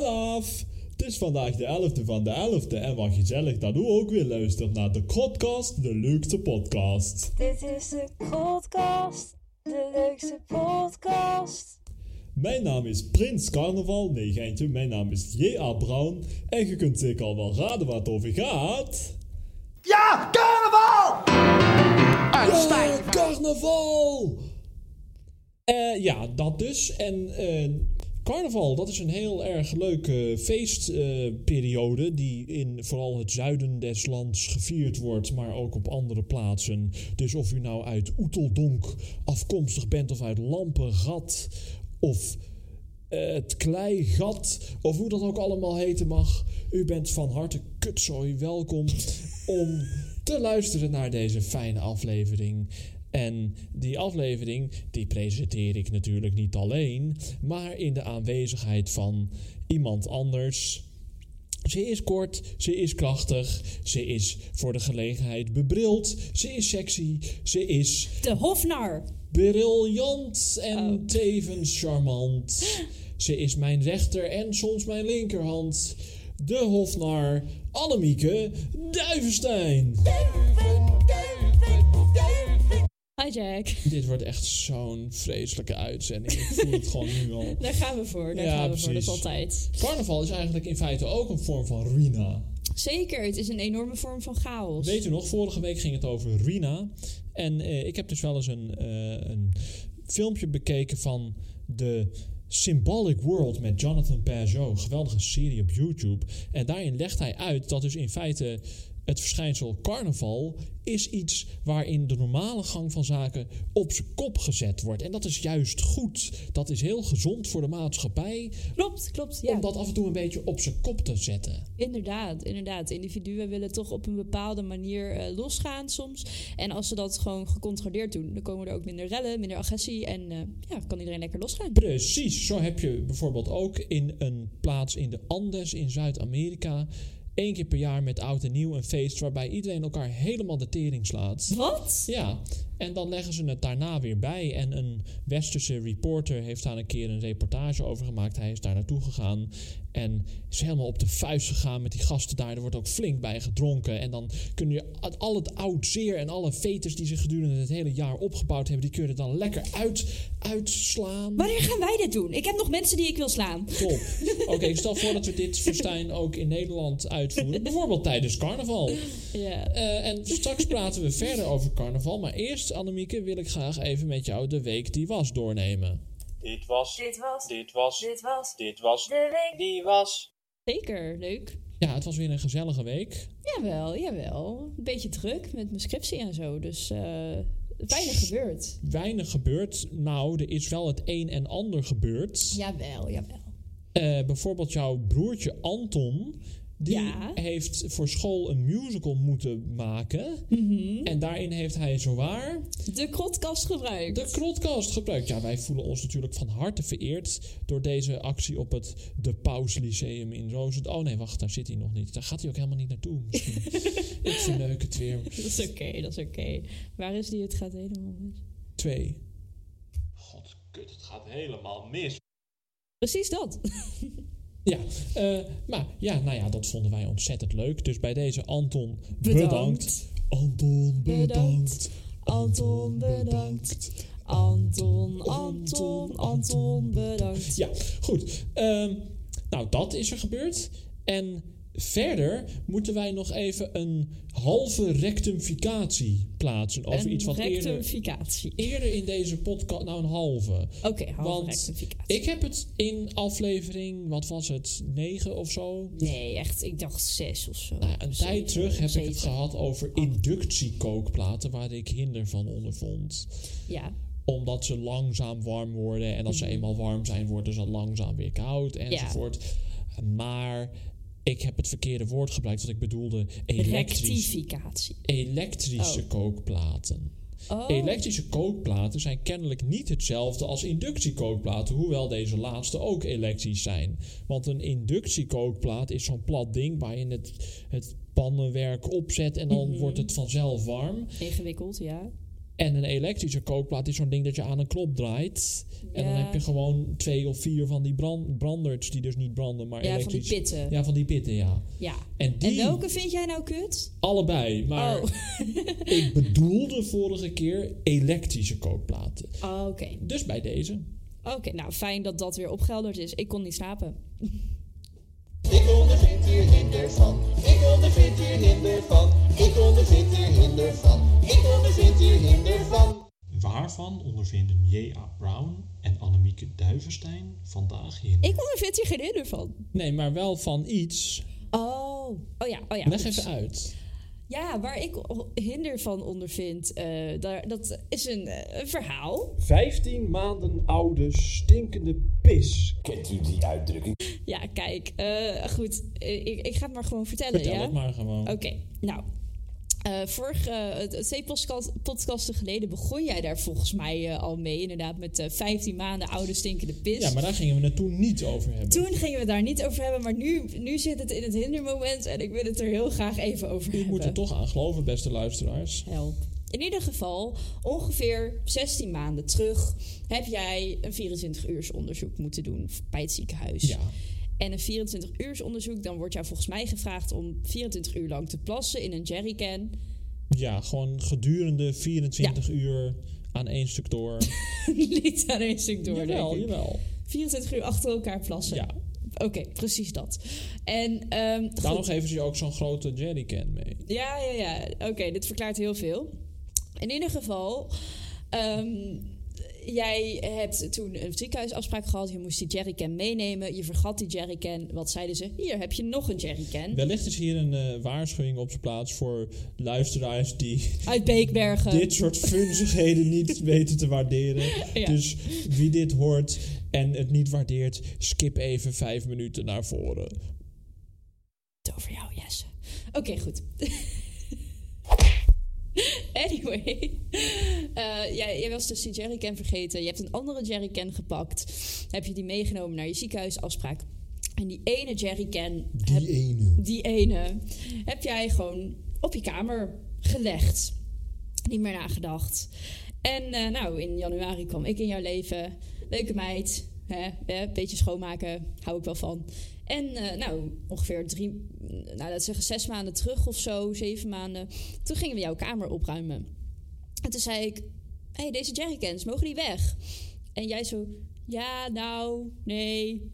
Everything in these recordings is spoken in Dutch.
Halaf! Het is vandaag de 11e van de 11e en wat gezellig dat u ook weer luistert naar de podcast, de leukste podcast. Dit is de podcast, de leukste podcast. Mijn naam is Prins Carnaval, nee geintje, mijn naam is J.A. Brown en je kunt zeker al wel raden waar het over gaat. Ja, carnaval! Ja, carnaval! Eh, ja, dat dus. En eh, carnaval, dat is een heel erg leuke feestperiode... eh, die in vooral het zuiden des lands gevierd wordt... maar ook op andere plaatsen. Dus of u nou uit Oeteldonk afkomstig bent... of uit Lampengat of eh, het kleigat, of hoe dat ook allemaal heten mag. U bent van harte kutzooi welkom om te luisteren naar deze fijne aflevering. En die aflevering, die presenteer ik natuurlijk niet alleen, maar in de aanwezigheid van iemand anders. Ze is kort, ze is krachtig, ze is voor de gelegenheid bebrild, ze is sexy, ze is De Hofnar. briljant en tevens charmant. Ze is mijn rechter en soms mijn linkerhand. De hofnar Annemieke Duivenstein. Hi Jack. Dit wordt echt zo'n vreselijke uitzending. Ik voel het gewoon nu al. Daar gaan we voor. Daar Ja, gaan we voor. Dat precies. is altijd. Carnaval is eigenlijk in feite ook een vorm van ruïna. Zeker, het is een enorme vorm van chaos. Weet u nog, vorige week ging het over Rina. En eh, ik heb dus wel eens een, eh, een filmpje bekeken van de Symbolic World met Jonathan Peugeot. Een geweldige serie op YouTube. En daarin legt hij uit dat dus in feite het verschijnsel carnaval is iets waarin de normale gang van zaken op zijn kop gezet wordt. En dat is juist goed. Dat is heel gezond voor de maatschappij Klopt, klopt. Ja. om dat af en toe een beetje op zijn kop te zetten. Inderdaad, inderdaad. Individuen willen toch op een bepaalde manier eh, losgaan soms. En als ze dat gewoon gecontroleerd doen, dan komen er ook minder rellen, minder agressie. En eh, ja, kan iedereen lekker losgaan. Precies, zo heb je bijvoorbeeld ook in een plaats in de Andes in Zuid-Amerika. één keer per jaar met oud en nieuw een feest waarbij iedereen elkaar helemaal de tering slaat. Wat? Ja, en dan leggen ze het daarna weer bij. En een westerse reporter heeft daar een keer een reportage over gemaakt. Hij is daar naartoe gegaan en is helemaal op de vuist gegaan met die gasten daar. Er wordt ook flink bij gedronken. En dan kun je a- al het oud zeer en alle veters die zich gedurende het hele jaar opgebouwd hebben... die kun je er dan lekker uit, uitslaan. Wanneer gaan wij dit doen? Ik heb nog mensen die ik wil slaan. Top. Oké, ik stel voor dat we dit festijn ook in Nederland uitvoeren. Bijvoorbeeld tijdens carnaval. Ja. Eh, en straks praten we verder over carnaval. Maar eerst, Annemieke, wil ik graag even met jou de week die was doornemen. Dit was. Dit was, Dit was. dit was Dit was. de week. Die was. Zeker, leuk. Ja, het was weer een gezellige week. Jawel, jawel. Een beetje druk met mijn scriptie en zo. Dus eh, weinig gebeurd. Weinig gebeurd. Nou, er is wel het een en ander gebeurd. Jawel, jawel. Eh, bijvoorbeeld jouw broertje Anton. Die Ja. heeft voor school een musical moeten maken. En daarin heeft hij zowaar... De krotkast gebruikt. De krotkast gebruikt. Nou Ja, wij voelen ons natuurlijk van harte vereerd door deze actie op het De Paus Lyceum in Roosendaal. Oh nee, wacht, daar zit hij nog niet. Daar gaat hij ook helemaal niet naartoe. Misschien. Ik verneuk het weer. Dat is oké, dat is oké. Waar is die? Het gaat helemaal mis. Twee. God, kut, het gaat helemaal mis. Precies dat. Ja, eh, maar ja, nou ja, dat vonden wij ontzettend leuk. Dus bij deze Anton bedankt. Bedankt. Anton bedankt. Bedankt. Anton, bedankt. Anton, Anton, Anton, bedankt. Ja, goed. Ehm, nou, dat is er gebeurd. En verder moeten wij nog even een halve rectificatie plaatsen over Een iets wat eerder, rectificatie. eerder in deze podcast. Nou, een halve. Oké, halve Want rectificatie. Ik heb het in aflevering, wat was het, 9 of zo? Nee, echt, ik dacht zes of zo. Nou, een tijd terug heb ik het gehad. gehad over inductiekookplaten waar ik hinder van ondervond. Ja, omdat ze langzaam warm worden. En als Mhm. ze eenmaal warm zijn, worden ze langzaam weer koud enzovoort. Maar ik heb het verkeerde woord gebruikt, want ik bedoelde elektrisch, rectificatie. elektrische Oh. kookplaten. Oh, Elektrische kookplaten zijn kennelijk niet hetzelfde als inductiekookplaten, hoewel deze laatste ook elektrisch zijn. Want een inductiekookplaat is zo'n plat ding waar je het, Mhm. het pannenwerk opzet en dan wordt het vanzelf warm. ingewikkeld, ja. En een elektrische kookplaat is zo'n ding dat je aan een knop draait. En dan Ja. heb je gewoon twee of vier van die brand, branders die dus niet branden, maar Ja, van die elektrisch. pitten. Ja. Ja, van die pitten, ja. En En die welke vind jij nou kut? allebei. Maar Oh, ik bedoelde vorige keer elektrische kookplaten. Oh, oké. Dus bij deze. Oké, nou fijn dat dat weer opgehelderd is. Ik kon niet slapen. Ik ondervind hier hinder van. Ik ondervind hier hinder van. Ik ondervind hier hinder van. Ik ondervind hier hinder van. Waarvan ondervinden J.A. Brown en Annemieke Duivenstein vandaag hinder? Ik ondervind hier geen hinder van. Nee, maar wel van iets. Oh, oh ja, oh ja. Leg oeps. even uit. Ja, waar ik o- hinder van ondervind, eh, daar, dat is een eh, een verhaal. 15 maanden oude stinkende pis. Kent u die uitdrukking? Ja, kijk, eh, goed, eh, ik, ik ga het maar gewoon vertellen. Vertel Oh ja? het maar gewoon. Oké, nou. eh vorige eh, het- het twee podcast, podcasten geleden begon jij daar volgens mij eh, al mee. Inderdaad, met eh 15 maanden oude stinkende pis. Ja, maar daar gingen we het toen niet over hebben. Toen gingen we het daar niet over hebben, maar nu, nu zit het in het hindermoment. En ik wil het er heel graag even over U hebben. moet er toch aan geloven, beste luisteraars. Help. In ieder geval, ongeveer 16 maanden terug heb jij een 24 uurs onderzoek moeten doen bij het ziekenhuis. Ja. En een 24 uurs onderzoek, dan wordt jou volgens mij gevraagd om 24 uur lang te plassen in een jerrycan. Ja, gewoon gedurende 24 uur aan één stuk door. Niet aan één stuk door, jawel, denk ik. jawel. 24 uur achter elkaar plassen. Ja. Oké, precies dat. En ehm, goed. Daarom geven ze je ook zo'n grote jerrycan mee. Ja, ja, ja. Oké, dit verklaart heel veel. In ieder geval, ehm, jij hebt toen een ziekenhuisafspraak gehad. Je moest die jerrycan meenemen. Je vergat die jerrycan. Wat zeiden ze? Hier heb je nog een jerrycan. Wellicht is hier een eh, waarschuwing op zijn plaats voor luisteraars die Uit Beekbergen. dit soort funzigheden niet weten te waarderen. Ja. Dus wie dit hoort en het niet waardeert, skip even vijf minuten naar voren. Het over jou, Jesse. Oké, goed. anyway. Eh, jij, jij was dus die jerrycan vergeten. Je hebt een andere jerrycan gepakt. Heb je die meegenomen naar je ziekenhuisafspraak. En die ene jerrycan... Die heb- ene. die ene heb jij gewoon op je kamer gelegd. Niet meer nagedacht. En eh, nou, in januari kwam ik in jouw leven. Leuke meid. Hè, hè, beetje schoonmaken. Hou ik wel van. En eh, nou, ongeveer drie, nou laten we zeggen zes maanden terug of zo, zeven maanden. Toen gingen we jouw kamer opruimen. En toen zei ik, hé, hey, deze jerrycans, mogen die weg? En jij zo, ja, nou, nee.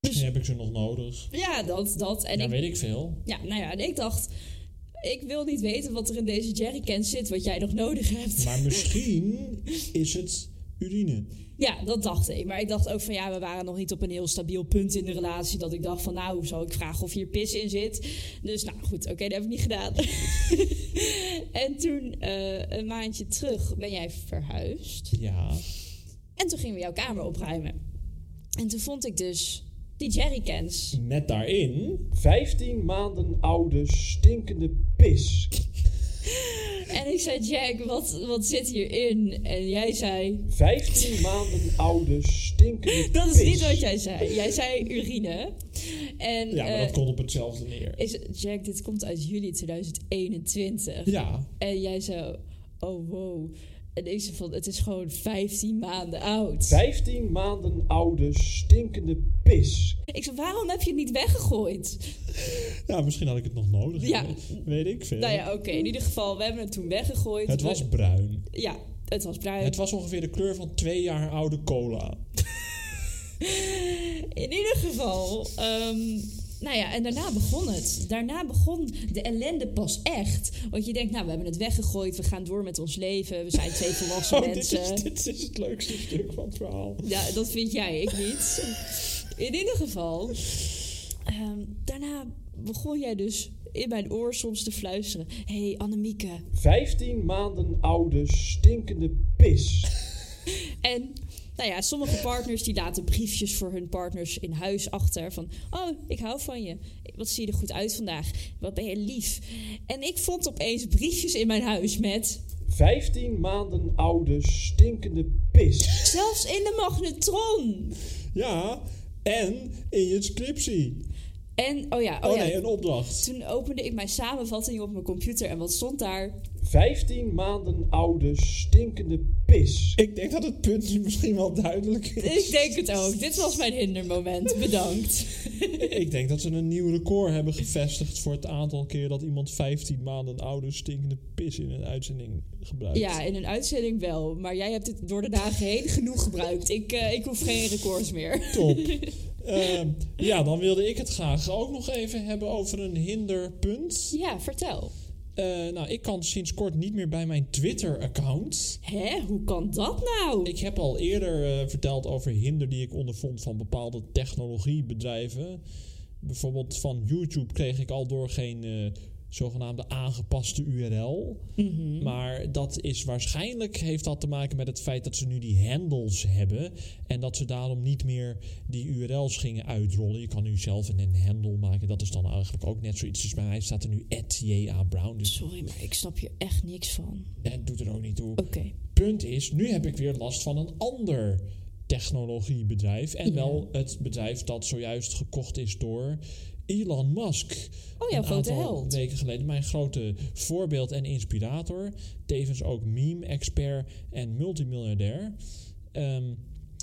Misschien heb ik ze nog nodig. Ja, dat, dat. En ja, ik weet ik veel. ja, nou ja, en ik dacht, ik wil niet weten wat er in deze jerrycan zit, wat jij nog nodig hebt. Maar misschien is het urine. Ja, dat dacht ik. Maar ik dacht ook van ja, we waren nog niet op een heel stabiel punt in de relatie. Dat ik dacht van nou, zal ik vragen of hier pis in zit? Dus nou goed, oké, dat heb ik niet gedaan. en toen, eh, een maandje terug, ben jij verhuisd. Ja. En toen gingen we jouw kamer opruimen. En toen vond ik dus die jerrycans. Met daarin 15 maanden oude stinkende pis. En ik zei, Jack, wat, wat zit hierin? En jij zei, 15 maanden oude stinkende Dat is niet wat jij zei. Jij zei urine. En Ja, maar eh, dat komt op hetzelfde neer. is, Jack, dit komt uit juli 2021. Ja. En jij zo, oh wow. En ik zei van, het is gewoon 15 maanden oud. 15 maanden oude stinkende pis. Ik zei, waarom heb je het niet weggegooid? Ja, Nou, misschien had ik het nog nodig. Ja. Weet ik veel. Nou ja, oké. In ieder geval, we hebben het toen weggegooid. Het We- was bruin. Ja, het was bruin. Het was ongeveer de kleur van twee jaar oude cola. In ieder geval, ehm, nou ja, en daarna begon het. Daarna begon de ellende pas echt. Want je denkt, nou, we hebben het weggegooid, we gaan door met ons leven, we zijn twee volwassen Oh, dit mensen. is, dit is het leukste stuk van het verhaal. Ja, dat vind jij, ik niet. In ieder geval, ehm, daarna begon jij dus in mijn oor soms te fluisteren. Hé, hey, Annemieke. 15 maanden oude stinkende pis. En, nou ja, sommige partners die laten briefjes voor hun partners in huis achter. Van, oh, ik hou van je. Wat zie je er goed uit vandaag. Wat ben je lief. En ik vond opeens briefjes in mijn huis met... 15 maanden oude stinkende pis. Zelfs in de magnetron. Ja, en in je scriptie. En, oh ja, oh, Oh ja. nee, een opdracht. Toen opende ik mijn samenvatting op mijn computer en wat stond daar? 15 maanden oude stinkende pis. Ik denk dat het punt nu misschien wel duidelijk is. Ik denk het ook. Dit was mijn hindermoment. Bedankt. Ik denk dat ze een nieuw record hebben gevestigd voor het aantal keer dat iemand 15 maanden oude stinkende pis in een uitzending gebruikt. Ja, in een uitzending wel. Maar jij hebt dit door de dagen heen genoeg gebruikt. Ik, eh, ik hoef geen records meer. Top. Ehm, ja, dan wilde ik het graag ook nog even hebben over een hinderpunt. Ja, vertel. Eh, nou, ik kan sinds kort niet meer bij mijn Twitter-account. Hè, hoe kan dat nou? Ik heb al eerder eh, verteld over hinder die ik ondervond van bepaalde technologiebedrijven. Bijvoorbeeld van YouTube kreeg ik al door geen eh, zogenaamde aangepaste URL. Maar dat is waarschijnlijk heeft dat te maken met het feit dat ze nu die handles hebben. En dat ze daarom niet meer die URL's gingen uitrollen. Je kan nu zelf een handle maken. Dat is dan eigenlijk ook net zoiets. Dus bij mij staat er nu J.A. Brown. Dus Sorry, maar ik snap hier echt niks van. het doet er ook niet toe. Oké. Punt is, nu heb ik weer last van een ander technologiebedrijf. En wel het bedrijf dat zojuist gekocht is door Elon Musk. Oh ja, een grote aantal held. weken geleden. Mijn grote voorbeeld en inspirator. Tevens ook meme-expert en multimiljardair. Ehm,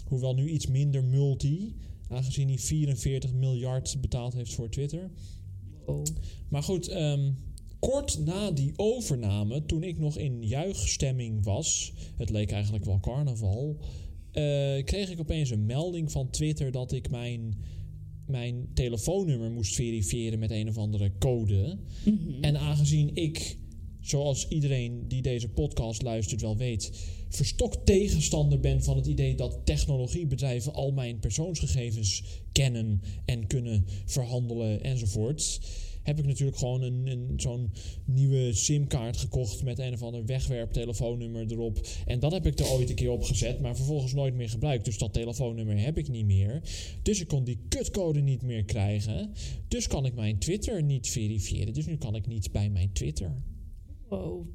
hoewel nu iets minder multi. Aangezien hij 44 miljard betaald heeft voor Twitter. Oh. Maar goed, ehm, kort na die overname, toen ik nog in juichstemming was, het leek eigenlijk wel carnaval, eh, kreeg ik opeens een melding van Twitter dat ik mijn, mijn telefoonnummer moest verifiëren met een of andere code. En aangezien ik, zoals iedereen die deze podcast luistert wel weet, verstokt tegenstander ben van het idee dat technologiebedrijven al mijn persoonsgegevens kennen en kunnen verhandelen enzovoort. Heb ik natuurlijk gewoon een, een, zo'n nieuwe simkaart gekocht met een of ander wegwerptelefoonnummer erop. En dat heb ik er ooit een keer op gezet, maar vervolgens nooit meer gebruikt. Dus dat telefoonnummer heb ik niet meer. Dus ik kon die kutcode niet meer krijgen. Dus kan ik mijn Twitter niet verifiëren. Dus nu kan ik niet bij mijn Twitter. Wow.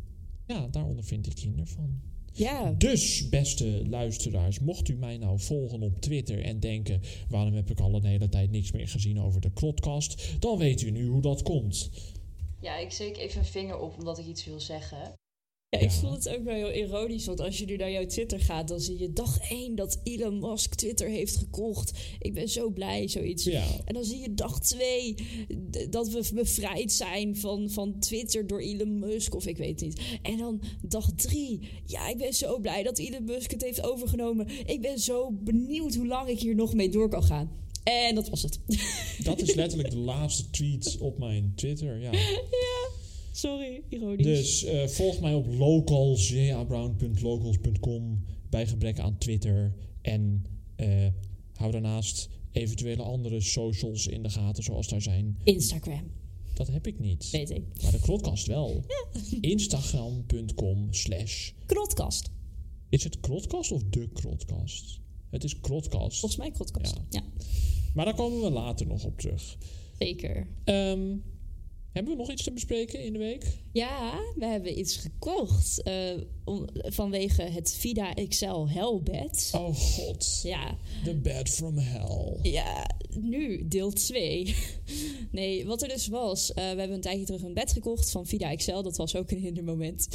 Ja, daaronder vind ik kinder van. Ja. Dus, beste luisteraars, mocht u mij nou volgen op Twitter en denken: waarom heb ik al een hele tijd niks meer gezien over de Klotcast? Dan weet u nu hoe dat komt. Ja, ik steek even een vinger op omdat ik iets wil zeggen. Ja, ik Ja. vond het ook wel heel ironisch, want als je nu naar jouw Twitter gaat, dan zie je dag 1 dat Elon Musk Twitter heeft gekocht. Ik ben zo blij, zoiets. Ja. En dan zie je dag 2 dat we bevrijd zijn van, van Twitter door Elon Musk, of ik weet niet. En dan dag 3, ja, ik ben zo blij dat Elon Musk het heeft overgenomen. Ik ben zo benieuwd hoe lang ik hier nog mee door kan gaan. En dat was het. Dat is letterlijk de laatste tweet op mijn Twitter. Ja. Sorry, ironisch. Dus eh, volg mij op locals, jabrown.locals.com bij gebrek aan Twitter. En eh, hou daarnaast eventuele andere socials in de gaten, zoals daar zijn. Instagram, Dat heb ik niet. weet ik. Maar de Klotcast wel. Instagram.com slash. Knotkast, Is het Klotcast of de Klotcast? Het is Klotcast. volgens mij knotkast. Ja. ja, Maar daar komen we later nog op terug. zeker. Ehm, hebben we nog iets te bespreken in de week? Ja, we hebben iets gekocht eh, om- vanwege het Vida XL Hellbed. Oh god. Ja, The Bed from Hell. ja, nu deel 2. nee, wat er dus was, eh, we hebben een tijdje terug een bed gekocht van Vida XL. Dat was ook een hindermoment.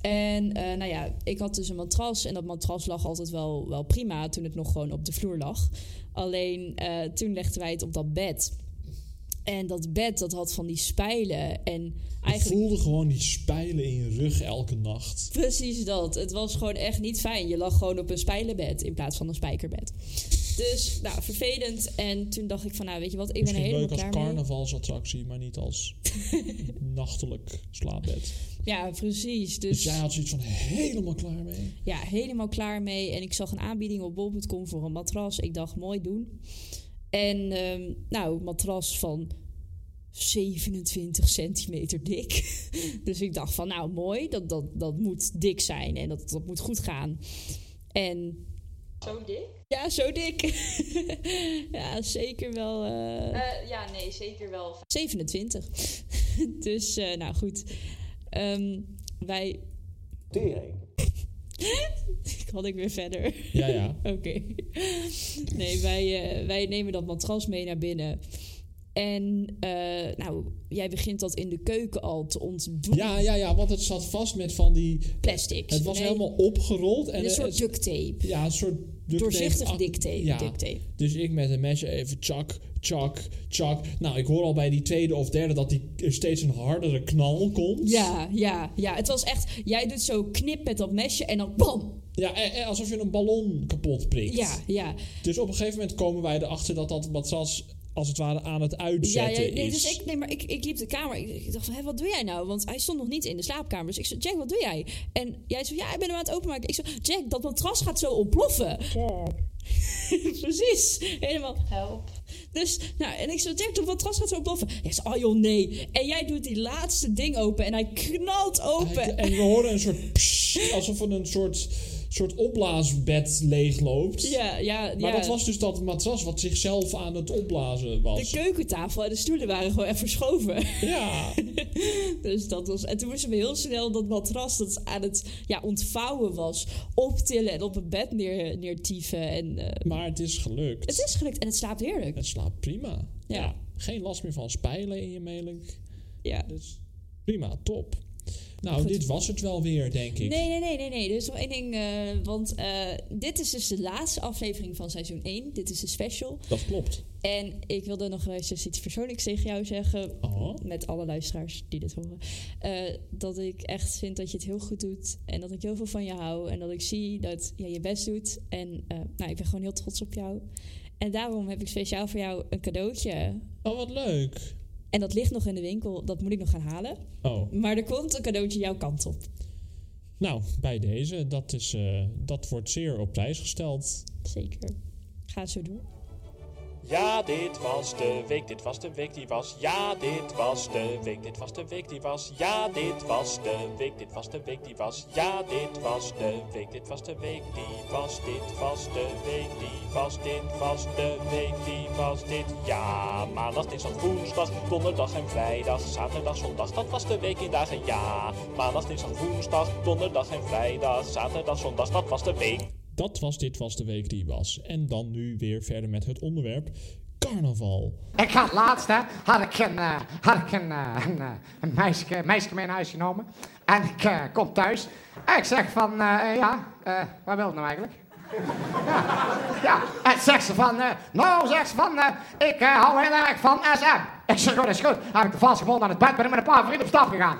En eh, nou ja, ik had dus een matras en dat matras lag altijd wel, wel prima toen het nog gewoon op de vloer lag. Alleen eh, toen legden wij het op dat bed. En dat bed dat had van die spijlen en Ik eigenlijk... voelde gewoon die spijlen in je rug elke nacht. Precies dat. Het was gewoon echt niet fijn. Je lag gewoon op een spijlenbed in plaats van een spijkerbed. Dus, nou, vervelend. En toen dacht ik van, nou, weet je wat, ik ben er Misschien leuk helemaal als klaar mee. carnavalsattractie, maar niet als nachtelijk slaapbed. Ja, precies. Dus Dus jij ja. had zoiets van helemaal klaar mee. helemaal klaar mee. En ik zag een aanbieding op bol.com voor een matras. Ik dacht, mooi doen. En, ehm, nou, matras van 27 centimeter dik. dus ik dacht van, nou, mooi. Dat, dat, dat moet dik zijn en dat, dat moet goed gaan. En Zo dik? Ja, zo dik. ja, zeker wel eh, Eh, ja, nee, zeker wel. 27. dus, eh, nou goed. Ehm, wij. Tering. Kan ik weer verder? Ja, ja. Oké. Nee, wij, eh, wij nemen dat matras mee naar binnen. En eh, nou, jij begint dat in de keuken al te ontdoen. Ja, ja, ja, want het zat vast met van die... Plastic. Het was Nee, helemaal opgerold. En Een eh, soort het- duct tape. Ja, een soort... duct tape- Doorzichtig ach- duct tape. Ja. Duct tape. Dus ik met een mesje even chak, chak, chak. Nou, ik hoor al bij die tweede of derde dat die er steeds een hardere knal komt. Ja, ja, ja. Het was echt... Jij doet zo knip met dat mesje en dan bam! Ja, eh, eh, alsof je een ballon kapot prikt. Ja, ja. Dus op een gegeven moment komen wij erachter dat dat matras als het ware aan het Ja, uitzetten ja nee, is. dus ik, nee, maar ik, ik liep de kamer. Ik, ik dacht van, hé, wat doe jij nou? Want hij stond nog niet in de slaapkamer. Dus ik zei, Jack, wat doe jij? En jij zei, ja, ik ben hem aan het openmaken. Ik zei, Jack, dat matras gaat zo ontploffen. Jack. Precies. Helemaal. Help. Dus, nou, en ik zei, Jack, dat matras gaat zo ontploffen. Hij zei, oh joh, nee. En jij doet die laatste ding open en hij knalt open. En we horen een soort pssst, alsof er een soort, soort opblaasbed leegloopt. Ja, ja, Maar ja. dat was dus dat matras wat zichzelf aan het opblazen was. De keukentafel en de stoelen waren gewoon echt verschoven. ja, Dus dat was. En toen moesten we heel snel dat matras dat aan het ja, ontvouwen was, optillen en op het bed neer, neertieven. En eh, maar het is gelukt. het is gelukt en het slaapt heerlijk. Het slaapt prima. Ja. Geen last meer van spijlen in je melk. Ja. Dus prima, top. Nou, Goed. dit was het wel weer, denk ik. Nee, nee, nee, nee, nee. Er is nog één ding. eh, want eh, dit is dus de laatste aflevering van seizoen 1. Dit is de special. Dat klopt. En ik wilde nog wel eens dus iets persoonlijks tegen jou zeggen. Oh. Met alle luisteraars die dit horen. Eh, dat ik echt vind dat je het heel goed doet. En dat ik heel veel van je hou. En dat ik zie dat jij je best doet. En eh, nou, ik ben gewoon heel trots op jou. En daarom heb ik speciaal voor jou een cadeautje. Oh, wat leuk. En dat ligt nog in de winkel. Dat moet ik nog gaan halen. Oh, Maar er komt een cadeautje jouw kant op. nou, bij deze, dat, is, eh, dat wordt zeer op prijs gesteld. Zeker. Ga zo doen. Ja, dit was de week, dit was de week, die was. Ja, dit was de week, dit was de week, die was. Ja, dit was de week, dit was de week, die was. Ja, dit was de week, dit was de week, die was. Dit was de week, die was. Dit was de week, die was. Dit ja, maandag, dinsdag, woensdag, donderdag en vrijdag, zaterdag, zondag. Dat was de week in dagen. Ja, maandag, dinsdag, woensdag, donderdag en vrijdag, zaterdag, zondag. Dat was de week. Dat was dit was de week die was. En dan nu weer verder met het onderwerp carnaval. Ik had laatst, hè, had ik een, eh, had ik een, eh, een, eh, een meisje, een meisje mee naar huis genomen. En ik eh, kom thuis. En ik zeg van, eh, eh, ja, eh, wat wil je nou eigenlijk? ja, ja, en zegt ze van, eh, nou, zegt ze van, eh, ik eh, hou heel erg van SM. Ik zeg, goed, is goed. Heb ik de vastgebonden aan het bed, ben ik met een paar vrienden op stap gegaan.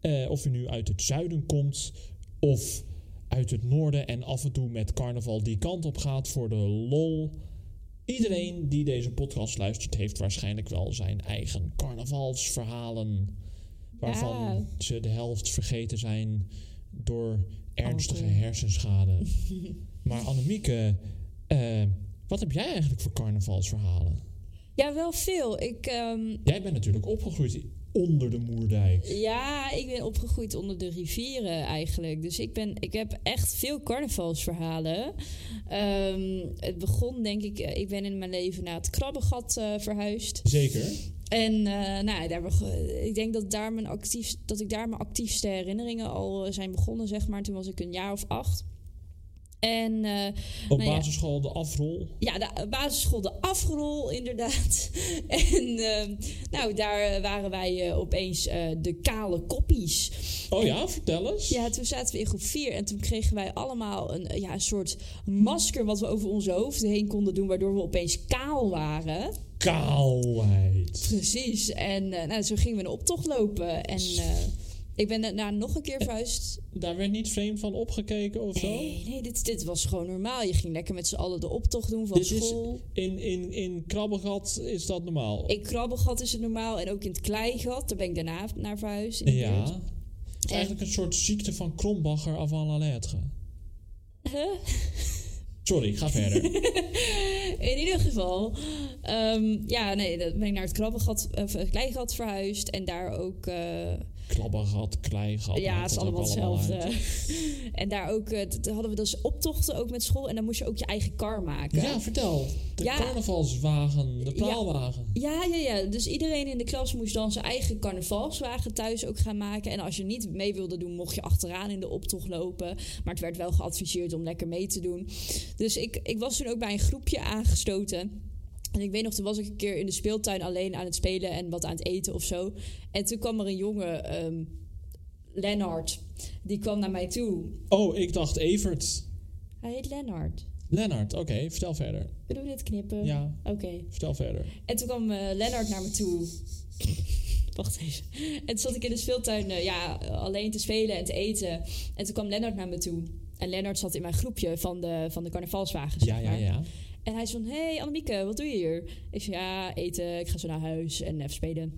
Eh, of u nu uit het zuiden komt of uit het noorden en af en toe met carnaval die kant op gaat voor de lol. Iedereen die deze podcast luistert heeft waarschijnlijk wel zijn eigen carnavalsverhalen. Waarvan Ja. ze de helft vergeten zijn door ernstige hersenschade. maar Annemieke, eh, wat heb jij eigenlijk voor carnavalsverhalen? Ja, wel veel. Ik, ehm, Jij bent natuurlijk opgegroeid onder de Moerdijk. ja, ik ben opgegroeid onder de rivieren eigenlijk. Dus ik, ben, ik heb echt veel carnavalsverhalen. Ehm, het begon denk ik, eh, ik ben in mijn leven naar het Krabbegat eh, verhuisd. Zeker. En eh, nou, daar beg- ik denk dat, daar mijn actief, dat ik daar mijn actiefste herinneringen al eh, zijn begonnen, zeg maar. Toen was ik een jaar of acht. En eh, Op Nou ja. basisschool de afrol. Ja, de basisschool de afgerol, inderdaad. En ehm, nou, daar waren wij eh, opeens eh, de kale koppies. Oh ja, vertel eens. Ja, toen zaten we in groep 4 en toen kregen wij allemaal een, eh, ja, een soort masker... wat we over onze hoofden heen konden doen, waardoor we opeens kaal waren. Kaalheid. Precies. En eh, nou, zo gingen we een optocht lopen. En eh, ik ben daarna nog een keer verhuisd. Daar werd niet vreemd van opgekeken of Eh, zo? Nee, nee dit, dit was gewoon normaal. Je ging lekker met z'n allen de optocht doen van Dit is- school. In, in, in Krabbelgat is dat normaal. In Krabbelgat is het normaal en ook in het Kleigat. Daar ben ik daarna naar verhuisd. in de ja. buurt. Het is eigenlijk een soort ziekte van Krombacher avant la lettre. Huh? Sorry, ga verder. In ieder geval, ehm, ja, nee, dan ben ik naar het Krabbelgat, eh, of het Kleigat verhuisd. En daar ook, eh, Krabbelgat, kleigat. ja, maakt het is ook allemaal uit. hetzelfde. en daar ook, eh, t- hadden we dus optochten ook met school. En dan moest je ook je eigen kar maken. Ja, vertel. de Ja. carnavalswagen, de Ja. praalwagen. Ja, ja, ja. Dus iedereen in de klas moest dan zijn eigen carnavalswagen thuis ook gaan maken. En als je niet mee wilde doen, mocht je achteraan in de optocht lopen. Maar het werd wel geadviseerd om lekker mee te doen. Dus ik, ik was toen ook bij een groepje aangestoten. En ik weet nog, toen was ik een keer in de speeltuin alleen aan het spelen en wat aan het eten of zo. En toen kwam er een jongen, ehm Lennart, die kwam naar mij toe. Oh, ik dacht Evert. Hij heet Lennart. Lennart, oké, vertel verder. Kunnen we dit knippen? Ja, Oké. vertel verder. En toen kwam eh, Lennart naar me toe. Wacht even. En toen zat ik in de speeltuin eh, ja, alleen te spelen en te eten. En toen kwam Lennart naar me toe. En Lennart zat in mijn groepje van de, van de carnavalswagens. Ja, zeg ja, maar. ja. En hij is van, hey Annemieke, wat doe je hier? Ik zei, ja, eten, ik ga zo naar huis en even spelen.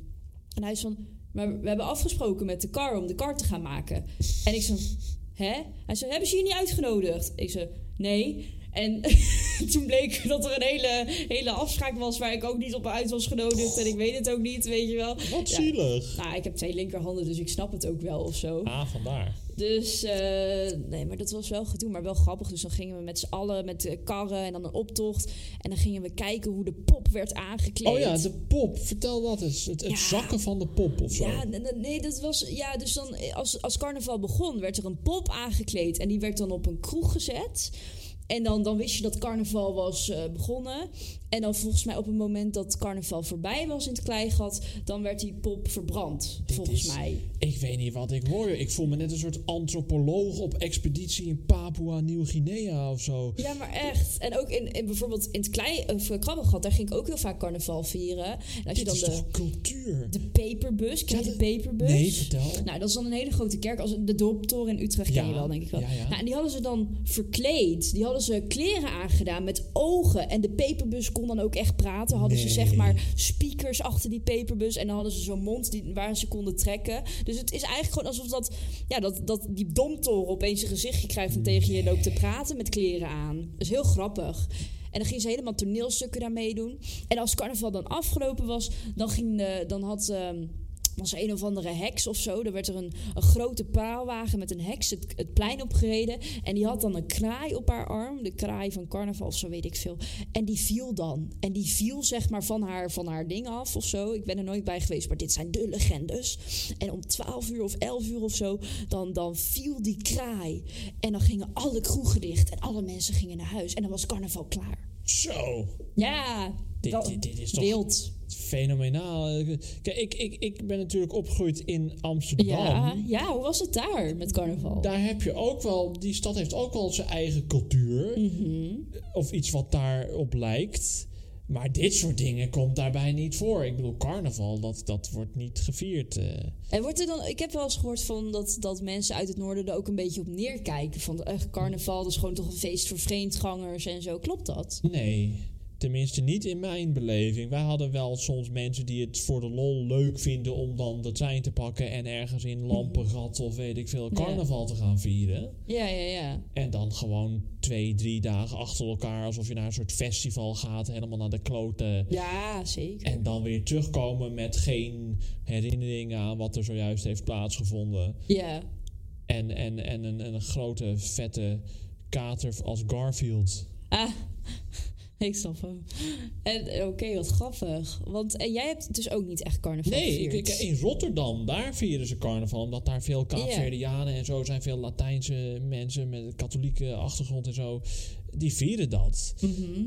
En hij is van, maar we hebben afgesproken met de car om de car te gaan maken. En ik zei, hè? Hij zei, hebben ze je niet uitgenodigd? Ik zei, nee. En toen bleek dat er een hele, hele afspraak was waar ik ook niet op uit was genodigd. En ik weet het ook niet, weet je wel. Wat Ja. zielig. Nou, ik heb twee linkerhanden, dus ik snap het ook wel of zo. Ah, vandaar. Dus eh, nee, maar dat was wel gedoe, maar wel grappig. Dus dan gingen we met z'n allen met eh, karren en dan een optocht. En dan gingen we kijken hoe de pop werd aangekleed. Oh ja, de pop. Vertel dat eens. Het, het Ja. zakken van de pop of zo. Ja, n- n- nee, dat was. Ja, dus dan eh, als, als carnaval begon, werd er een pop aangekleed. En die werd dan op een kroeg gezet. En dan, dan wist je dat carnaval was eh, begonnen. En dan volgens mij op het moment dat carnaval voorbij was in het kleigat, dan werd die pop verbrand. volgens is- mij. Ik weet niet wat ik hoor. Ik voel me net een soort antropoloog op expeditie in Papua Nieuw-Guinea of zo. Ja, maar echt. En ook in, in bijvoorbeeld in het klei, of eh, Krabbengat, daar ging ik ook heel vaak carnaval vieren. En als Dit je dan is de, toch cultuur? de paperbus, ken je Ja, de dat- paperbus? Nee, vertel. Nou, dat is dan een hele grote kerk. Als de dorptoren in Utrecht ken Ja, je wel, denk ik wel. ja, ja. Nou, en die hadden ze dan verkleed. Die hadden ze kleren aangedaan met ogen. En de paperbus kon dan ook echt praten. Hadden ze Nee. zeg maar speakers achter die paperbus. En dan hadden ze zo'n mond die, waar ze konden trekken. Dus het is eigenlijk gewoon alsof dat, ja, dat, dat die domtoren opeens een gezichtje krijgt... en tegen je loopt te praten met kleren aan. Dat is heel grappig. En dan ging ze helemaal toneelstukken daar meedoen. En als carnaval dan afgelopen was, dan, ging, eh, dan had... ehm, was er een of andere heks of zo. Daar werd er een, een grote praalwagen met een heks het, het plein opgereden. En die had dan een kraai op haar arm. De kraai van carnaval of zo, weet ik veel. En die viel dan. En die viel zeg maar van haar, van haar ding af of zo. Ik ben er nooit bij geweest, maar dit zijn de legendes. En om 12 uur of 11 uur of zo, dan, dan viel die kraai. En dan gingen alle kroegen dicht. En alle mensen gingen naar huis. En dan was carnaval klaar. Zo. Ja, Dit- dat- dit- dit is toch- wild. Fenomenaal. Kijk, ik, ik, ik ben natuurlijk opgegroeid in Amsterdam. Ja, ja, hoe was het daar met carnaval? Daar heb je ook wel, die stad heeft ook wel zijn eigen cultuur. Of iets wat daarop lijkt. Maar dit soort dingen komt daarbij niet voor. Ik bedoel, carnaval, dat, dat wordt niet gevierd. eh. En wordt er dan, ik heb wel eens gehoord van dat, dat mensen uit het noorden er ook een beetje op neerkijken. Van echt carnaval, dat is gewoon toch een feest voor vreemdgangers en zo. Klopt dat? Nee, tenminste niet in mijn beleving. Wij hadden wel soms mensen die het voor de lol leuk vinden om dan de trein te pakken en ergens in Lampengat of weet ik veel carnaval te gaan vieren. Ja, ja, ja. En dan gewoon twee, drie dagen achter elkaar alsof je naar een soort festival gaat, helemaal naar de kloten. Ja, zeker. En dan weer terugkomen met geen herinnering aan wat er zojuist heeft plaatsgevonden. Ja. En, en, en een, een grote, vette kater als Garfield. Ah, ik snap hem. En eh, oké, wat grappig. Want en jij hebt dus ook niet echt carnaval Nee, ik, gevierd. ik- in Rotterdam, daar vieren ze carnaval. Omdat daar veel Kaapverdianen en zo zijn. Veel Latijnse mensen met een katholieke achtergrond en zo. Die vieren dat.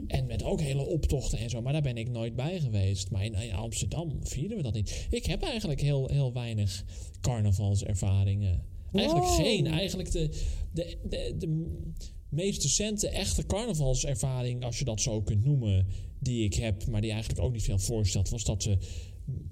En met ook hele optochten en zo. Maar daar ben ik nooit bij geweest. Maar in, in Amsterdam vieren we dat niet. Ik heb eigenlijk heel, heel weinig carnavalservaringen. Eigenlijk Wow. geen. Eigenlijk de, de, de, de meest recente echte carnavalservaring, als je dat zo kunt noemen, die ik heb, maar die eigenlijk ook niet veel voorstelt, was dat ze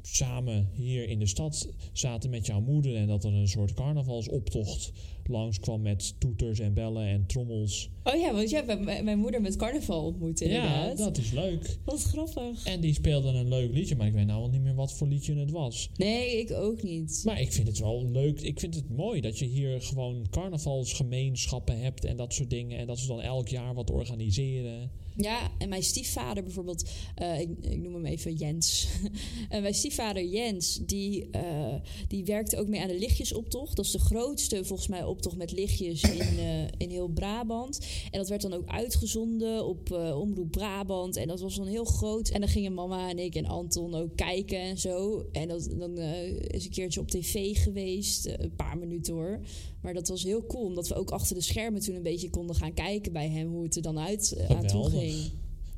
samen hier in de stad zaten met jouw moeder en dat er een soort carnavalsoptocht langskwam met toeters en bellen en trommels. Oh ja, want jij hebt mijn- mijn moeder met carnaval ontmoet inderdaad. Ja, dat is leuk. Wat grappig. En die speelden een leuk liedje, maar ik weet nou al niet meer wat voor liedje het was. Nee, ik ook niet. Maar ik vind het wel leuk. Ik vind het mooi dat je hier gewoon carnavalsgemeenschappen hebt en dat soort dingen. En dat ze dan elk jaar wat organiseren. Ja, en mijn stiefvader bijvoorbeeld, eh, ik, ik noem hem even Jens. en mijn stiefvader Jens, die, eh, die werkte ook mee aan de lichtjesoptocht. Dat is de grootste, volgens mij, optocht met lichtjes in, eh, in heel Brabant. En dat werd dan ook uitgezonden op eh, Omroep Brabant. En dat was dan heel groot. En dan gingen mama en ik en Anton ook kijken en zo. En dat, dan eh, is een keertje op tv geweest, eh, een paar minuten hoor. Maar dat was heel cool, omdat we ook achter de schermen toen een beetje konden gaan kijken bij hem... hoe het er dan uit eh, aan toe Geweldig. ging.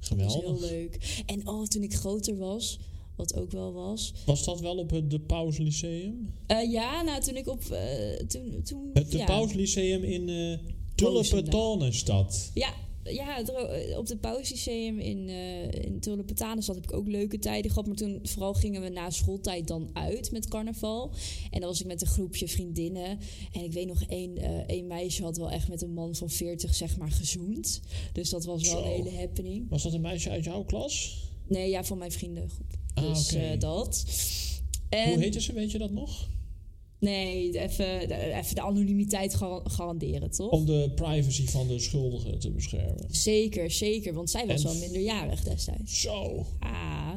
Dat was heel Geweldig. leuk. En oh, toen ik groter was, wat ook wel was. Was dat wel op het De Paus Lyceum? Eh, ja, nou, toen ik op... eh, toen, toen, Het De ja. Paus Lyceum in eh Tulpentanenstad. Ja, ja, dro- eh, op de Pauslyceum in, eh in Tulpentanenstad heb ik ook leuke tijden gehad. Maar toen vooral gingen we na schooltijd dan uit met carnaval. En dan was ik met een groepje vriendinnen. En ik weet nog, één, eh, één meisje had wel echt met een man van 40, zeg maar, gezoend. Dus dat was wel Zo. een hele happening. Was dat een meisje uit jouw klas? Nee, ja, van mijn vriendengroep. Ah, Dus oké. eh, dat. En, Hoe heette ze, weet je dat nog? Nee, even, even de anonimiteit gar- garanderen, toch? Om de privacy van de schuldige te beschermen. Zeker, zeker. Want zij was En- wel minderjarig destijds. Zo. Ah,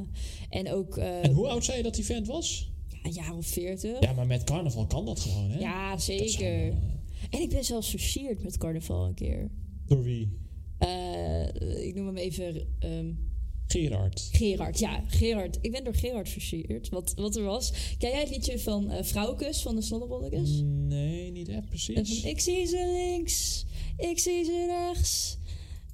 en ook eh, En hoe oud zei je dat die vent was? een jaar of veertig. Ja, Ja, maar met carnaval kan dat gewoon, hè? Dat zou zeker. wel, eh, En ik ben zelfs versierd met carnaval een keer. Door wie? Eh, ik noem hem even ehm, Gerard. Gerard. Ja, Gerard. Ik ben door Gerard versierd. Wat, wat er was. Ken jij het liedje van eh Vrouwkus van de Snollebollekes? Nee, niet echt En precies. van, ik zie ze links, ik zie ze rechts.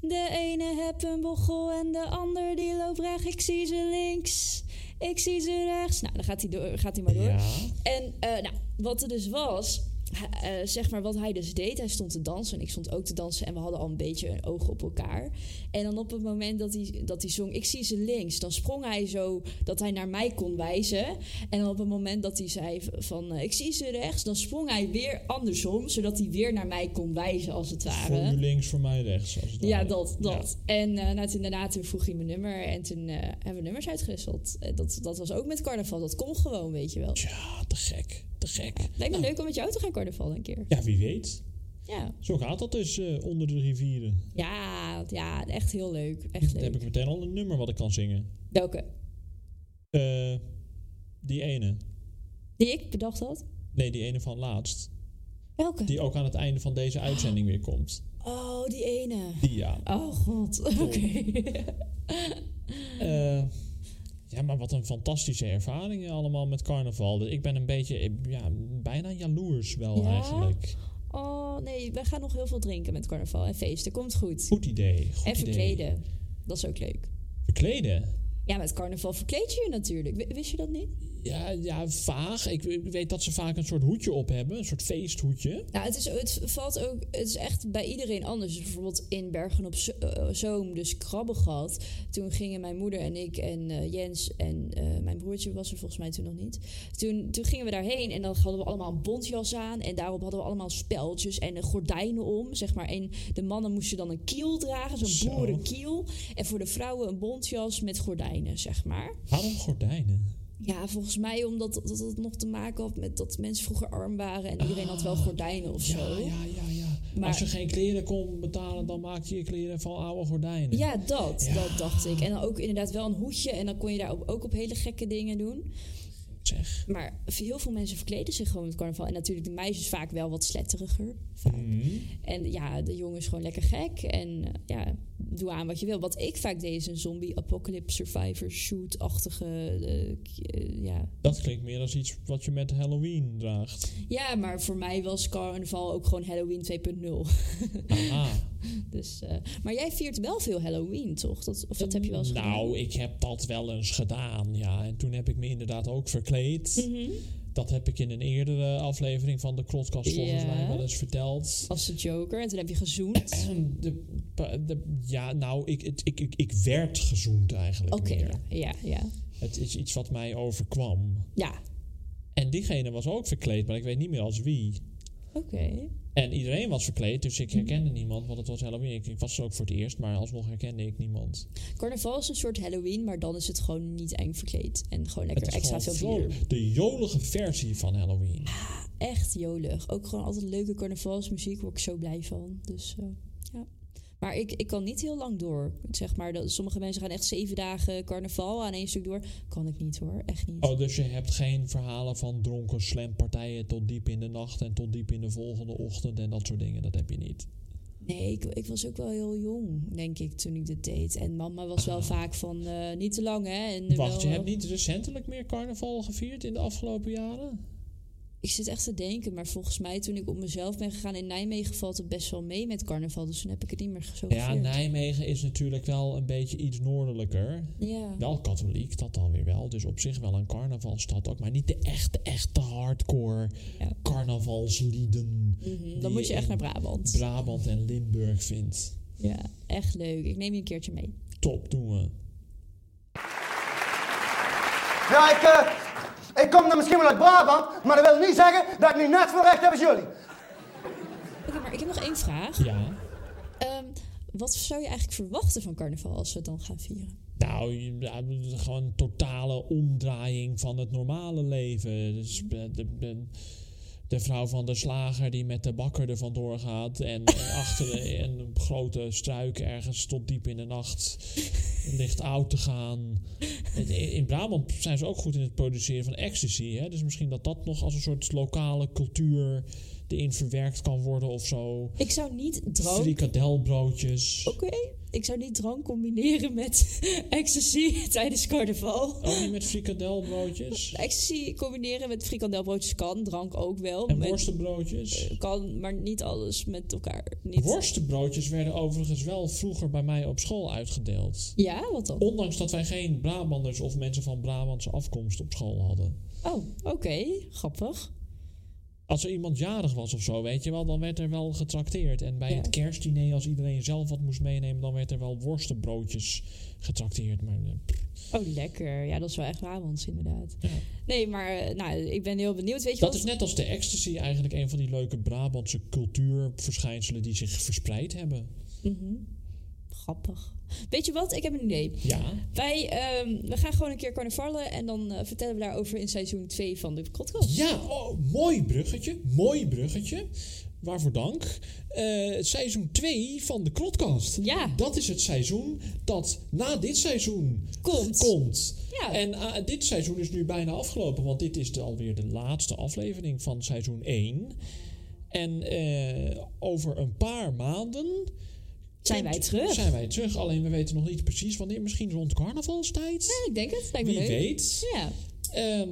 De ene heb een bochel en de ander die loopt recht. Ik zie ze links, ik zie ze rechts. Nou, dan gaat hij, door, gaat hij maar door. Ja. En eh, nou, wat er dus was, hij- eh, zeg maar wat hij dus deed. Hij stond te dansen en ik stond ook te dansen. En we hadden al een beetje een oog op elkaar. En dan op het moment dat hij, dat hij zong, ik zie ze links. Dan sprong hij zo dat hij naar mij kon wijzen. En dan op het moment dat hij zei van, eh, ik zie ze rechts. Dan sprong hij weer andersom, zodat hij weer naar mij kon wijzen als het ware. Voor u links, voor mij rechts. Als het Ja, ware. dat. Ja. dat. En eh, nou, toen, daarna toen vroeg hij mijn nummer en toen eh, hebben we nummers uitgewisseld. Eh, Dat, dat was ook met carnaval, dat kon gewoon, weet je wel. Tja, te gek. Te gek. Lijkt me leuk om met jou te gaan carnaval een keer. Ja, wie weet. Ja, Zo gaat dat dus eh, onder de rivieren. ja, ja echt heel leuk. Echt Dan leuk. heb ik meteen al een nummer wat ik kan zingen. Welke? Eh, die ene. Die ik bedacht had? Nee, die ene van laatst. Welke? Die ook aan het einde van deze uitzending weer komt. Oh, die ene. Die ja. Oh god, oké. Eh, ja, maar wat een fantastische ervaringen allemaal met carnaval. Dus ik ben een beetje, eh, ja, bijna jaloers wel Ja? eigenlijk. Oh nee, we gaan nog heel veel drinken met carnaval en feesten. Komt goed. Goed idee. Goed en idee. verkleden. Dat is ook leuk. Verkleden? Ja, met carnaval verkleed je je natuurlijk. W- Wist je dat niet? Ja, ja vaag. Ik, ik weet dat ze vaak een soort hoedje op hebben. Een soort feesthoedje. Nou, het, is, het valt ook. Het is echt bij iedereen anders. Dus bijvoorbeeld in Bergen op Zo- eh, Zoom, dus Krabbegat. Toen gingen mijn moeder en ik en eh, Jens en eh, mijn broertje was er volgens mij toen nog niet. Toen, toen gingen we daarheen en dan hadden we allemaal een bontjas aan. En daarop hadden we allemaal speldjes en eh, gordijnen om, zeg maar. En de mannen moesten dan een kiel dragen, zo'n Zo. boerenkiel. En voor de vrouwen een bontjas met gordijnen, zeg maar. Waarom gordijnen? Ja, volgens mij omdat dat het nog te maken had met dat mensen vroeger arm waren. En iedereen had wel gordijnen of zo. Ja, ja, ja, ja. Maar- Als je geen kleren kon betalen, dan maak je je kleren van oude gordijnen. Ja, dat. Dat dacht ik. En dan ook inderdaad wel een hoedje. En dan kon je daar ook- ook op hele gekke dingen doen. Zeg. Maar heel veel mensen verkleden zich gewoon met carnaval. En natuurlijk de meisjes vaak wel wat sletteriger. Vaak. En ja, de jongens gewoon lekker gek. En eh, ja, doe aan wat je wil. Wat ik vaak deed is een zombie apocalypse survivor shoot-achtige... eh, k- eh, ja. Dat klinkt meer als iets wat je met Halloween draagt. ja, maar voor mij was carnaval ook gewoon Halloween 2.0. Ah. dus, eh, maar jij viert wel veel Halloween, toch? Dat, of dat heb je wel eens gedaan? Nou, ik heb dat wel eens gedaan, ja. En toen heb ik me inderdaad ook verkleed. Mhm. Dat heb ik in een eerdere aflevering van de Klotkast volgens Ja. mij wel eens verteld. Als de Joker. En toen heb je gezoend. Eh, De, de- ja, nou, ik, het- ik, ik, ik werd gezoend eigenlijk Oké, meer. ja, ja, ja. Het is iets wat mij overkwam. Ja, En diegene was ook verkleed, maar ik weet niet meer als wie. oké. En iedereen was verkleed, dus ik Hmm. herkende niemand, want het was Halloween. Ik, ik was er ook voor het eerst, maar alsnog herkende ik niemand. Carnaval is een soort Halloween, maar dan is het gewoon niet eng verkleed. En gewoon lekker het is extra veel gewoon bier. vrolijk. de jolige versie van Halloween. Echt jolig. Ook gewoon altijd leuke carnavalsmuziek, word ik zo blij van. Dus eh, ja. Maar ik, ik kan niet heel lang door. Zeg maar, dat, sommige mensen gaan echt zeven dagen carnaval aan één stuk door. Kan ik niet hoor, echt niet. Oh, dus je hebt geen verhalen van dronken slampartijen tot diep in de nacht en tot diep in de volgende ochtend en dat soort dingen. Dat heb je niet. Nee, ik, ik was ook wel heel jong, denk ik, toen ik dit deed. En mama was wel vaak van eh, niet te lang, hè? En eh, Ah. Wacht, wel- je hebt niet recentelijk meer carnaval gevierd in de afgelopen jaren? Ik zit echt te denken, maar volgens mij toen ik op mezelf ben gegaan in Nijmegen valt het best wel mee met carnaval. Dus toen heb ik het niet meer zo Ja, nou, gevierd. Nijmegen is natuurlijk wel een beetje iets noordelijker. Ja. Wel katholiek, dat dan weer wel. Dus op zich wel een carnavalstad ook. Maar niet de echte, echte hardcore Ja. Mhm. carnavalslieden. die Mm, Dan moet je echt in naar Brabant. Brabant en Limburg vindt. ja, echt leuk. Ik neem je een keertje mee. Top, doen we. Ja, ik, eh, ik kom dan misschien wel uit Brabant, maar dat wil niet zeggen dat ik niet net veel recht heb als jullie. Oké, maar ik heb nog één vraag. Ja. Ehm, wat zou je eigenlijk verwachten van carnaval als we het dan gaan vieren? Nou, je- ja, gewoon een totale omdraaiing van het normale leven. Dus eh, de, de, de vrouw van de slager die met de bakker er vandoor gaat. En eh, achter de- en een grote struik ergens tot diep in de nacht ligt oud te gaan. Het- In in Brabant zijn ze ook goed in het produceren van ecstasy. Hè? Dus misschien dat dat nog als een soort lokale cultuur erin verwerkt kan worden of zo. Ik zou niet drank... Frikadelbroodjes. Oké, ik zou niet drank combineren met ecstasy tijdens carnaval. Ook niet met frikadelbroodjes. Ecstasy combineren met frikandelbroodjes kan, drank ook wel. En met- worstenbroodjes. Kan, maar niet alles met elkaar. Niet... Worstenbroodjes werden overigens wel vroeger bij mij op school uitgedeeld. Ja, wat dan? Ondanks dat wij geen Brabanders of mensen van Brabantse afkomst op school hadden. Oh, oké, grappig. Als er iemand jarig was of zo, weet je wel, dan werd er wel getrakteerd. En bij Ja. het kerstdiner, als iedereen zelf wat moest meenemen, dan werd er wel worstenbroodjes getrakteerd. Maar eh, pff, Oh, lekker. Ja, dat is wel echt Brabants, inderdaad. Nee, maar eh, nou, ik ben heel benieuwd. Weet je dat wat? is net als de ecstasy eigenlijk een van die leuke Brabantse cultuurverschijnselen die zich verspreid hebben. Grappig. Weet je wat? Ik heb een idee. Ja, Wij ehm, we gaan gewoon een keer carnavallen en dan eh, vertellen we daarover in seizoen 2 van de podcast. Ja, oh, mooi bruggetje. Mooi bruggetje. Waarvoor dank. Eh, seizoen 2 van de Krotkast. Ja. Dat is het seizoen dat na dit seizoen Komt. komt. Ja. En ah, dit seizoen is nu bijna afgelopen, want dit is de, alweer de laatste aflevering van seizoen 1. En eh, over een paar maanden Zijn wij terug? zijn wij terug. Alleen we weten nog niet precies wanneer. Misschien rond carnavalstijd. Ja, ik denk het. Lijkt me Wie leuk. weet. Ja. Ehm,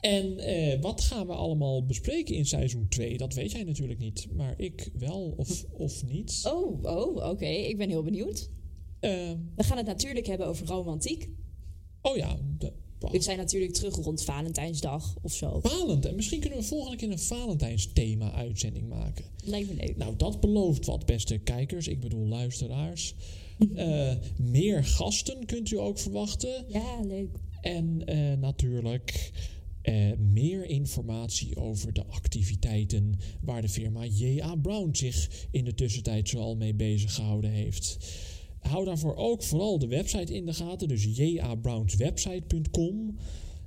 en eh, wat gaan we allemaal bespreken in seizoen 2? Dat weet jij natuurlijk niet. Maar ik wel of, of niet. Oh, oh oké. Ik ben heel benieuwd. Ehm, We gaan het natuurlijk hebben over romantiek. oh ja, de, We zijn natuurlijk terug rond Valentijnsdag of zo. Valentijn. Misschien kunnen we volgende keer een Valentijnsthema uitzending maken. Lijkt me leuk. Nou, dat belooft wat, beste kijkers. Ik bedoel, luisteraars. Eh, meer gasten kunt u ook verwachten. Ja, leuk. En eh, natuurlijk eh, meer informatie over de activiteiten waar de firma J.A. Brown zich in de tussentijd zoal mee bezig gehouden heeft. Hou daarvoor ook vooral de website in de gaten, dus jabrounswebsite.com.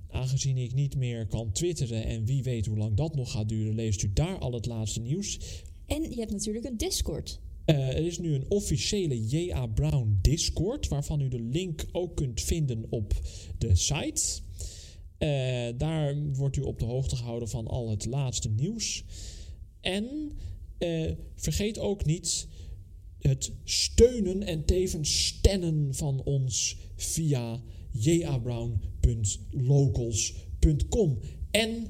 Aangezien ik niet meer kan twitteren en wie weet hoe lang dat nog gaat duren, leest u daar al het laatste nieuws. En je hebt natuurlijk een Discord. Eh, er is nu een officiële J.A. Brown Discord, waarvan u de link ook kunt vinden op de site. Eh, daar wordt u op de hoogte gehouden van al het laatste nieuws. En eh, vergeet ook niet het steunen en tevens stennen van ons via jabrown.locals.com. En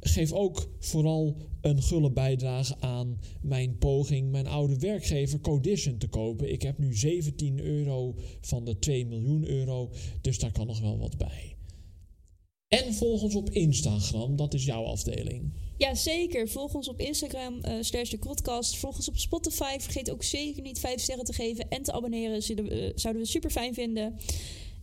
geef ook vooral een gulle bijdrage aan mijn poging mijn oude werkgever Codition te kopen. Ik heb nu 17 euro van de 2 miljoen euro, dus daar kan nog wel wat bij. En volg ons op Instagram, dat is jouw afdeling. Jazeker. Volg ons op Instagram, eh slash de podcast. Volg ons op Spotify. Vergeet ook zeker niet vijf sterren te geven en te abonneren. Zullen we- eh, zouden we super fijn vinden.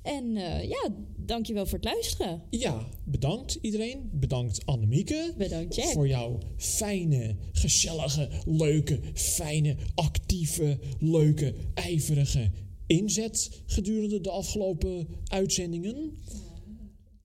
En eh ja, dankjewel voor het luisteren. Ja, bedankt iedereen. Bedankt Annemieke. Bedankt, Jack. Voor jouw fijne, gezellige, leuke, fijne, actieve, leuke, ijverige inzet gedurende de afgelopen uitzendingen.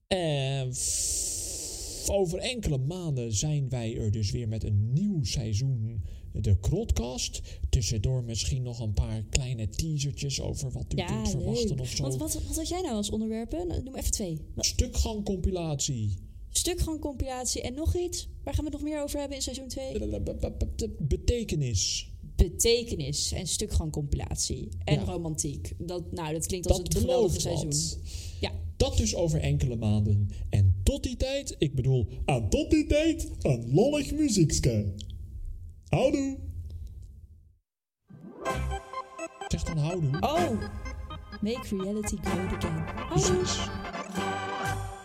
Eh, f- over enkele maanden zijn wij er dus weer met een nieuw seizoen de Krotcast. Tussendoor misschien nog een paar kleine teasertjes over wat u kunt verwachten of zo. Want wat, wat had jij nou als onderwerpen? Nou, Noem even twee. Wat- Stukgang compilatie. Stukgang compilatie en nog iets. Waar gaan we het nog meer over hebben in seizoen 2? Betekenis. Betekenis en stukgang compilatie. En Ja. romantiek. Dat, nou, dat klinkt als Dat het geweldige belooft seizoen. wat. Ja. Dat dus over enkele maanden. En tot die tijd, ik bedoel, aan tot die tijd, een lollig muziekske. Houdoe. Zeg dan houdoe. Oh! Make reality great again. Precies.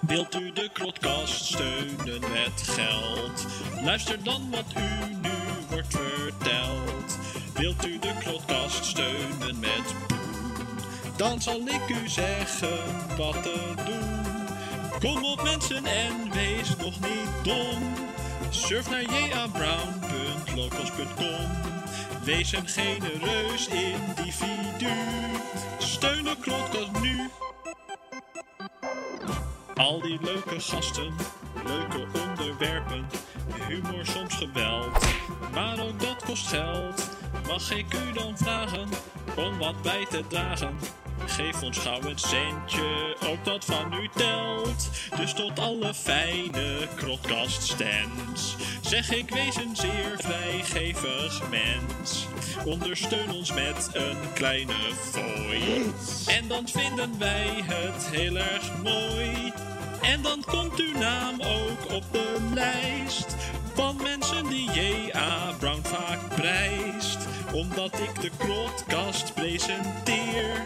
Wilt u de Krotkast steunen met geld? Luister dan wat u nu wordt verteld. Wilt u de Krotkast steunen met poen? Dan zal ik u zeggen wat te doen. Kom op mensen en wees nog niet dom. Surf naar jabrown.locals.com Wees een genereus individu. Steun de Krotkast nu. Al die leuke gasten, leuke onderwerpen, humor soms geweld. Maar ook dat kost geld. Mag ik u dan vragen om wat bij te dragen? Geef ons gauw een centje, ook dat van u telt. Dus tot alle fijne krotkaststands. Zeg ik wees een zeer vrijgevig mens. Ondersteun ons met een kleine fooi. En dan vinden wij het heel erg mooi. En dan komt uw naam ook op de lijst van mensen die J.A. Brown vaak prijst. Omdat ik de krotkast presenteer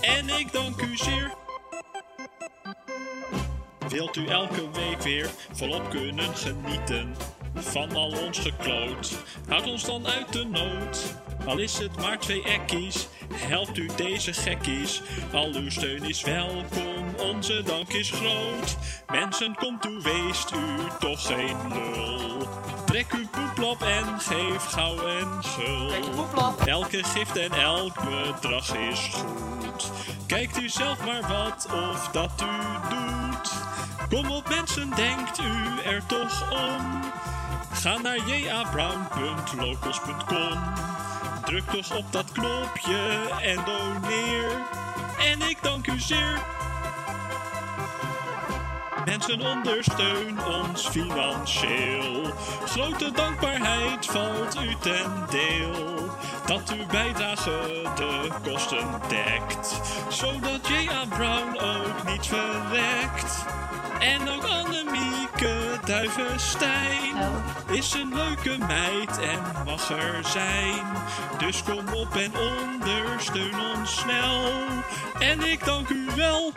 en ik dank u zeer. Wilt u elke week weer volop kunnen genieten van al ons gekloot? Houd ons dan uit de nood. Al is het maar twee ekkies, helpt u deze gekkies. Al uw steun is welkom, onze dank is groot. Mensen, komt u, weest u toch geen lul. Trek uw poeplap en geef gauw en gul. Elke gift en elk bedrag is goed. Kijkt u zelf maar wat of dat u doet. Kom op mensen, denkt u er toch om. Ga naar jabrown.locals.com Druk toch op dat knopje en doneer. En ik dank u zeer. Mensen ondersteun ons financieel. Grote dankbaarheid valt u ten deel. Dat uw bijdrage de kosten dekt. Zodat J.A. Brown ook niet verrekt. En ook Annemieke Duivenstein is een leuke meid en mag er zijn. Dus kom op en ondersteun ons snel. En ik dank u wel.